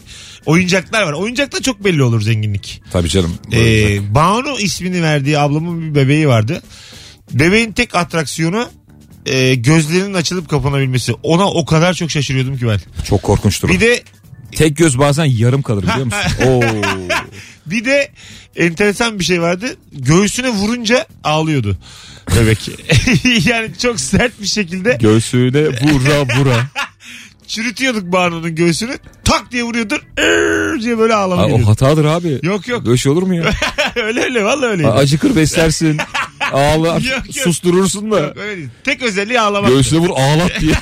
oyuncaklar var. Oyuncakta çok belli olur zenginlik.
Tabii canım.
Ee, Banu ismini verdiği ablamın bir bebeği vardı. Bebeğin tek atraksiyonu e, gözlerinin açılıp kapanabilmesi. Ona o kadar çok şaşırıyordum ki ben.
Çok korkunçtur.
Bir de
Tek göz bazen yarım kalır biliyor musun? Oo.
bir de enteresan bir şey vardı. Göğsüne vurunca ağlıyordu bebek. yani çok sert bir şekilde
Göğsüne vura vura.
çürütüyorduk Banu'nun göğsünü. Tak diye vuruyordun. "Err" diye böyle
Aa,
ağlamaya
o hatadır abi.
Yok yok.
Böyle şey olur mu ya?
öyle öyle vallahi öyleydi.
Aa, Acıkır beslersin. Ağlar.
Yok, yok.
Susturursun da.
Yok, öyle değil. Tek özelliği ağlamaktı.
Göğsüne vur ağlat diye.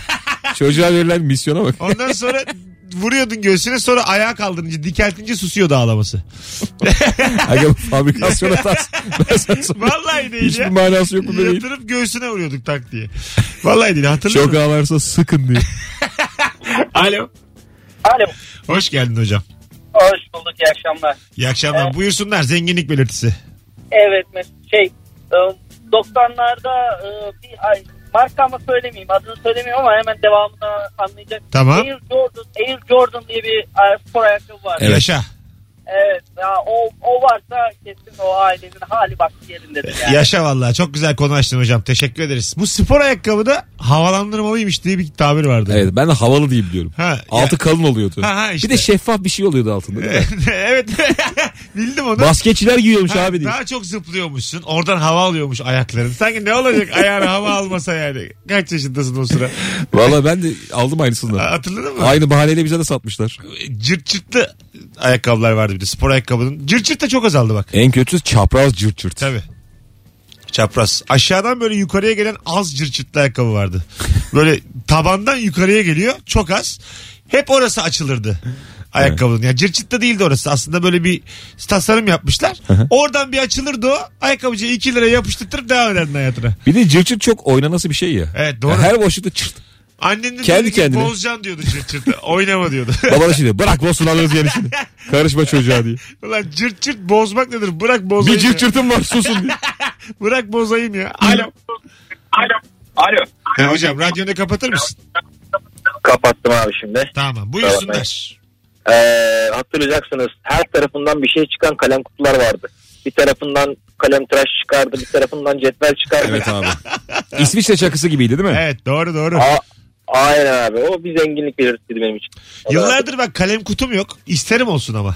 Çocuğa verilen misyona bak.
Ondan sonra vuruyordun göğsüne sonra ayağa kaldırınca dikeltince susuyordu ağlaması.
Aga fabrikasyon hatası. Ben sana söyleyeyim.
Vallahi değil
Hiçbir
ya.
manası yok bu bebeğin.
Yatırıp göğsüne vuruyorduk tak diye. Vallahi değil hatırlıyor
Çok
musun?
ağlarsa sıkın diye.
Alo.
Alo.
Hoş geldin hocam.
Hoş bulduk. iyi akşamlar.
İyi akşamlar. Buyursunlar zenginlik belirtisi.
Evet Mesut şey e, 90'larda e, bir ay marka ama söylemeyeyim adını söylemeyeyim ama hemen devamını anlayacak.
Tamam.
Air Jordan, Air Jordan diye bir e, spor ayakkabı var.
Evet.
Yaşa.
Evet ya o, o varsa kesin o ailenin hali bak yerindedir yani.
Yaşa vallahi çok güzel konu açtın hocam. Teşekkür ederiz. Bu spor ayakkabı da havalandırmalıymış diye bir tabir vardı.
Evet ben de havalı diyeyim diyorum.
Ha,
Altı kalın oluyordu.
Ha, ha, işte.
Bir de şeffaf bir şey oluyordu altında. değil mi?
evet. Bildim onu.
Basketçiler giyiyormuş
Ha,
şey abi diye.
Daha çok zıplıyormuşsun. Oradan hava alıyormuş ayakların. Sanki ne olacak ayağına hava almasa yani. Kaç yaşındasın o sıra?
Valla ben de aldım
Ha,
aynısından.
Hatırladın mı?
Aynı bahaneyle bize de satmışlar.
Cırt cırtlı ayakkabılar vardı bir de spor ayakkabının. Cırt cırt da çok azaldı bak.
En kötüsü çapraz cırt cırt.
Tabii. Çapraz. Aşağıdan böyle yukarıya gelen az cırt cırtlı ayakkabı vardı. Böyle tabandan yukarıya geliyor çok az. Hep orası açılırdı ayakkabının. Yani cırt cırt da değildi orası. Aslında böyle bir tasarım yapmışlar. Oradan bir açılırdı o. Ayakkabıcıya 2 lira yapıştırtırıp devam ederdin hayatına.
Bir de cırt cırt çok oynanası bir şey ya.
Evet, doğru.
Ya her boşlukta çırt.
Annen de
Kendi
dedi ki,
kendine.
bozacaksın diyordu cırt cırt. Oynama diyordu.
Baba da şimdi şey bırak bozsun alırız yenisini. Karışma çocuğa diye.
Ulan cırt cırt bozmak nedir? Bırak bozayım.
Bir
ya.
cırt cırtım var susun diye.
Bırak bozayım ya. Alo.
Alo. Alo.
Ha, hocam radyonu kapatır mısın?
Kapattım abi şimdi.
Tamam buyursunlar.
Ee, hatırlayacaksınız her tarafından bir şey çıkan kalem kutular vardı. Bir tarafından kalem tıraş çıkardı, bir tarafından cetvel çıkardı.
Evet abi. İsviçre çakısı gibiydi değil mi?
Evet doğru doğru.
A- Aynen abi. O bir zenginlik belirtisiydi benim için. O da-
Yıllardır bak kalem kutum yok. İsterim olsun ama.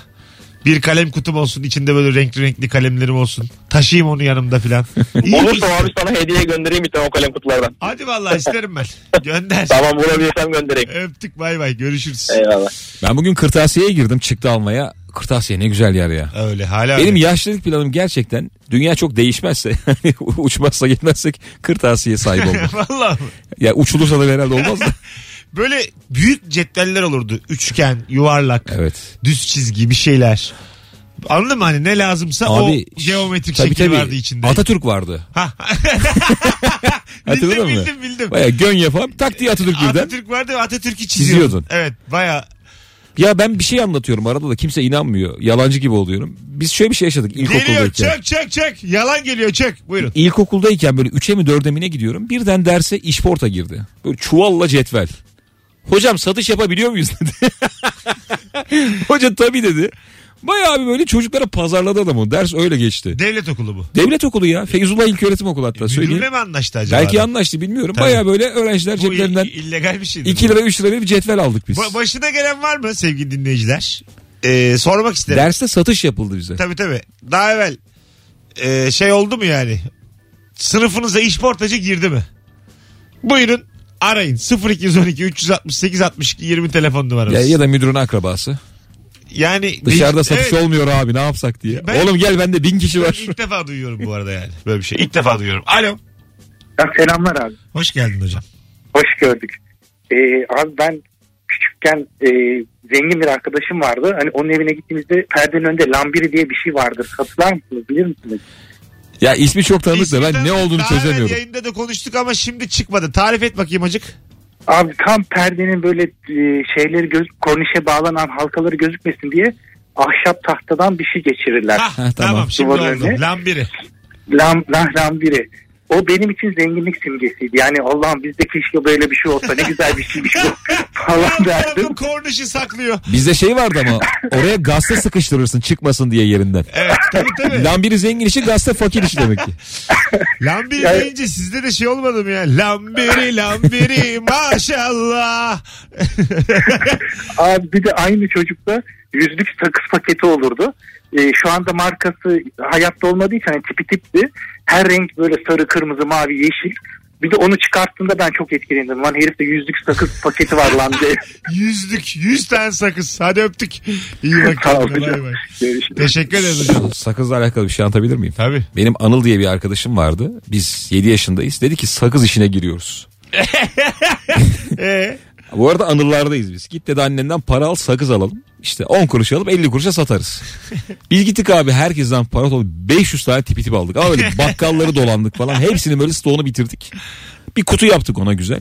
Bir kalem kutum olsun içinde böyle renkli renkli kalemlerim olsun. Taşıyayım onu yanımda filan. İyi.
Olursa abi sana hediye göndereyim bir tane o kalem kutulardan.
Hadi vallahi isterim ben. Gönder.
Tamam bulabilirsem göndereyim.
Öptük bay bay görüşürüz.
Eyvallah.
Ben bugün kırtasiyeye girdim çıktı almaya. Kırtasiye ne güzel yer ya.
Öyle hala
Benim
öyle.
yaşlılık planım gerçekten dünya çok değişmezse uçmazsa gitmezsek kırtasiye sahip olmak.
Vallahi mi?
ya uçulursa da herhalde olmaz da.
böyle büyük cetveller olurdu. Üçgen, yuvarlak,
Evet.
düz çizgi bir şeyler. Anladın mı hani ne lazımsa
Abi
o geometrik
tabii,
şekil
tabii.
vardı içinde.
Atatürk vardı.
Ha.
Hatırladın
bildim,
mı?
bildim bildim
Baya gön yapalım tak diye Atatürk birden.
Atatürk vardı ve Atatürk'ü çiziyordun.
Çiziyordun.
Evet baya
Ya ben bir şey anlatıyorum arada da kimse inanmıyor. Yalancı gibi oluyorum. Biz şöyle bir şey yaşadık
geliyor
ilkokuldayken.
çök çök çök yalan geliyor çök buyurun.
İlkokuldayken böyle 3'e mi 4'e mi ne gidiyorum. Birden derse işporta girdi. Böyle çuvalla cetvel. Hocam satış yapabiliyor muyuz dedi. Hoca tabii dedi. Bayağı bir böyle çocuklara pazarladı adam onu. Ders öyle geçti.
Devlet okulu bu.
Devlet okulu ya. Feyzullah İlköğretim Okulu hatta söyleyeyim.
E, Müdürle mi anlaştı acaba?
Belki
adam?
anlaştı bilmiyorum.
Tabii.
Bayağı böyle öğrenciler
Bu
ceplerinden
i- illegal bir şeydir.
2 lira 3 lira verip cetvel aldık biz.
Ba- başına gelen var mı sevgili dinleyiciler? Ee, sormak isterim.
Derste satış yapıldı bize.
Tabii tabii. Daha evvel e, şey oldu mu yani? Sınıfınıza iş portacı girdi mi? Buyurun arayın 0212 368 62 20 telefon numarası.
Ya, ya da müdürün akrabası.
yani
Dışarıda
değil-
satış
Evet,
olmuyor abi ne yapsak diye.
Ben-
Oğlum gel bende bin kişi var.
İlk defa duyuyorum bu arada yani böyle bir şey. İlk defa duyuyorum. Alo.
Ya selamlar abi.
Hoş geldin hocam.
Hoş gördük. Ee, abi ben küçükken e, zengin bir arkadaşım vardı. Hani onun evine gittiğimizde perdenin önünde lambiri diye bir şey vardır. Hatırlar mısınız? Bilir misiniz?
Ya ismi çok tanıdık da ben
İsminden
ne olduğunu
daha evvel
çözemiyorum.
yayında da konuştuk ama şimdi çıkmadı. Tarif et bakayım acık.
Abi tam perdenin böyle e, şeyleri göz, kornişe bağlanan halkaları gözükmesin diye ahşap tahtadan bir şey geçirirler.
Hah,
tamam.
tamam. şimdi
Duvarın
oldu.
önüne.
Lambiri.
Lam, lah, lambiri. O benim için zenginlik simgesiydi. Yani Allah'ım bizde keşke böyle bir şey olsa ne güzel bir şeymiş bu falan derdim.
Lambiri kornişi saklıyor.
Bizde şey vardı ama oraya gazete sıkıştırırsın çıkmasın diye yerinden.
Evet tabii tabii.
Lambiri zengin işi gazete fakir işi demek ki.
Lambiri
Yani-
deyince sizde de şey olmadı mı ya? Lambiri lambiri maşallah.
Abi bir de aynı çocukta yüzlük sakız paketi olurdu. Ee, şu anda markası hayatta olmadığı için hani tipi tipti. Her renk böyle sarı, kırmızı, mavi, yeşil. Bir de onu çıkarttığında ben çok etkilendim. Lan herifte yüzlük sakız paketi var lan diye.
Yüzlük. Yüz tane sakız. Hadi öptük. İyi bak.
Tamam,
kendine, bay
hocam.
bay.
Görüşürüz.
Teşekkür ederiz hocam.
Şu Sakızla alakalı bir şey anlatabilir miyim?
Tabii.
Benim Anıl diye bir arkadaşım vardı. Biz 7 yaşındayız. Dedi ki sakız işine giriyoruz.
Ee,
Bu arada anılardayız biz. Git dedi annenden para al sakız alalım. İşte 10 kuruş alıp 50 kuruşa satarız. Biz gittik abi herkesten para toplayıp 500 tane tipi tip aldık. Ama böyle bakkalları dolandık falan. Hepsini böyle stoğunu bitirdik. Bir kutu yaptık ona güzel.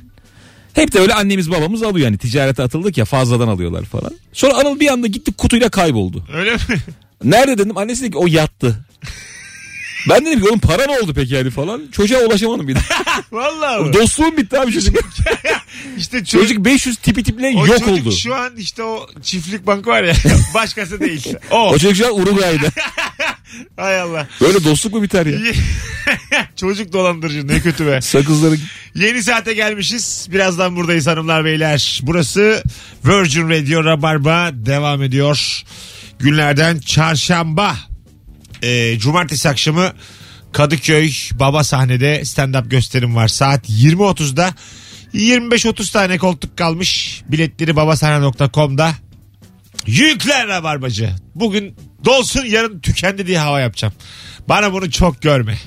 Hep de öyle annemiz babamız alıyor yani ticarete atıldık ya fazladan alıyorlar falan. Sonra Anıl bir anda gitti kutuyla kayboldu.
öyle mi?
Nerede dedim annesi dedi ki o yattı. Ben dedim ki oğlum para ne oldu peki yani falan. Çocuğa ulaşamadım bir daha.
Vallahi. mi?
Dostluğum bitti abi çocuk.
İşte çocuk,
Çocuk 500 tipi tiple
o
yok
çocuk
oldu.
şu an işte o çiftlik bank var ya. Başkası değil. O.
O çocuk şu an Uruguay'da.
Hay Allah.
Böyle dostluk mu biter ya?
çocuk dolandırıcı ne kötü be.
Sakızları
Yeni saate gelmişiz. Birazdan buradayız hanımlar beyler. Burası Virgin Radio Rabarba devam ediyor. Günlerden çarşamba. Ee, cumartesi akşamı Kadıköy Baba sahnede stand-up gösterim var. Saat 20.30'da 25-30 tane koltuk kalmış. Biletleri babasahne.com'da. Yükler Rabarbacı. Bugün dolsun yarın tükendi diye hava yapacağım. Bana bunu çok görme.